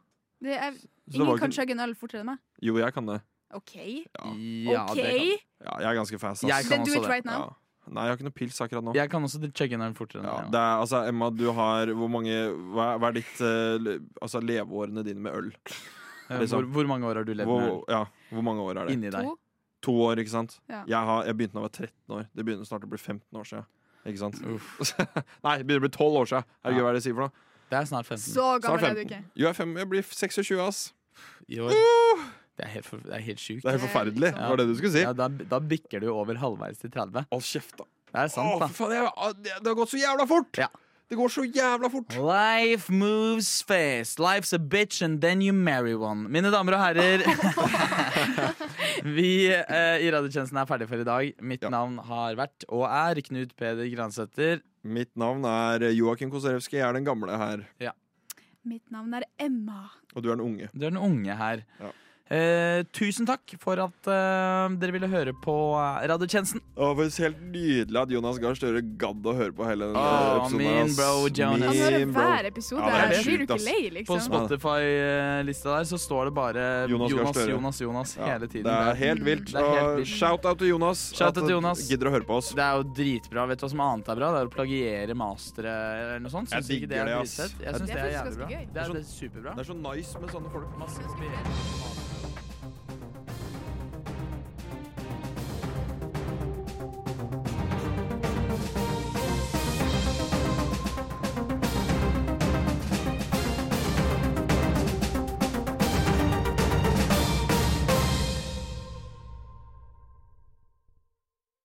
F: Det er,
E: Så det var
F: ingen
E: ikke-
F: kan chugge en øl fortere enn meg.
E: Jo, jeg kan det.
F: OK.
C: Ja, det
F: OK.
C: kan.
E: Ja, jeg er ganske fast, ass.
C: Jeg kan
F: Then do
C: også
F: it
C: det.
F: right
E: ja.
F: now.
E: Nei, jeg har ikke noe pils akkurat nå.
C: Jeg kan også chugge inn her fortere.
E: Ja,
C: enn
E: det er, altså, Emma, du har hvor mange Hva, hva er ditt eh, le- altså, leveårene dine med øl?
C: Ja.
E: liksom.
C: Hvor, hvor mange år har du levd med
E: Hvor, ja, hvor mange år er
C: øl
E: det?
C: inni deg?
F: To.
E: To år, ikke sant?
F: Ja.
E: Jeg, har, jeg begynte da jeg var 13 år. Det begynner snart å bli 15 år siden. Ikke sant? Nei, det begynner å bli 12 år siden. Herregud,
C: Ja.
E: hva er det jeg sier for noe?
C: Det er snart 15.
F: Så
E: Snart
F: gammel er du
E: 15.
F: ikke.
E: Jo, jeg, er fem, jeg blir 26, ass. Uh!
C: i år. Det er helt, for- det er helt sjukt.
E: Det er helt
F: Det er
E: forferdelig.
F: liksom-
E: Det var det du skulle si.
C: Ja, da, da bikker du jo over halvveis til 30.
E: Hold kjeft, da.
C: Det er sant,
E: Å,
C: da.
E: for faen, jeg, å, det, det har gått så jævla fort!
C: Ja.
E: Det går så jævla fort.
C: Life moves fast. Life's a bitch, and then you marry one. Mine damer og herrer, vi eh, i Radiotjenesten er ferdig for i dag. Mitt
E: Ja.
C: navn har vært og er Knut Peder Gransæter.
E: Mitt navn er Joakim Kosarewski. Jeg er den gamle her.
F: Mitt navn er Emma.
E: Og du er den unge.
C: Du er den unge her.
E: Ja.
C: Eh, tusen takk for at eh, dere ville høre på eh, Radiotjenesten.
E: Det var helt nydelig at Jonas Gahr Støre gadd å høre på hele denne
C: Å,
E: episoden.
C: min
E: her, ass.
C: bro, Jonas.
F: Han hører
E: Min bro.
F: Altså, hver episode.
E: Ja, det er
F: her.
E: helt
F: Blir du
E: sjukt,
F: ikke
E: ass.
F: lei,
C: På
F: liksom?
C: Spotify-lista der så står det bare
E: Jonas
C: Jonas,
E: Gahr
C: Jonas,
E: Støre.
C: Jonas, hele tiden.
E: Det
C: der.
E: er helt vilt.
C: Det er helt
E: Og
C: vilt.
E: shout-out til Jonas.
C: Shout-out til Jonas.
E: At han gidder å høre på oss.
C: Det er jo dritbra. Vet du hva som annet er bra? Det er å plagiere mastere eller noe sånt.
E: Jeg
C: Synes du ikke
E: digger det,
C: er
E: ass.
C: dritfett? Jeg
E: Jeg
C: syns
F: digger
C: det er
F: det.
C: jævlig bra.
F: Det er faktisk ganske gøy.
C: Det er, det er superbra.
E: Det er så nice med sånne folk.
C: Masse inspirerende.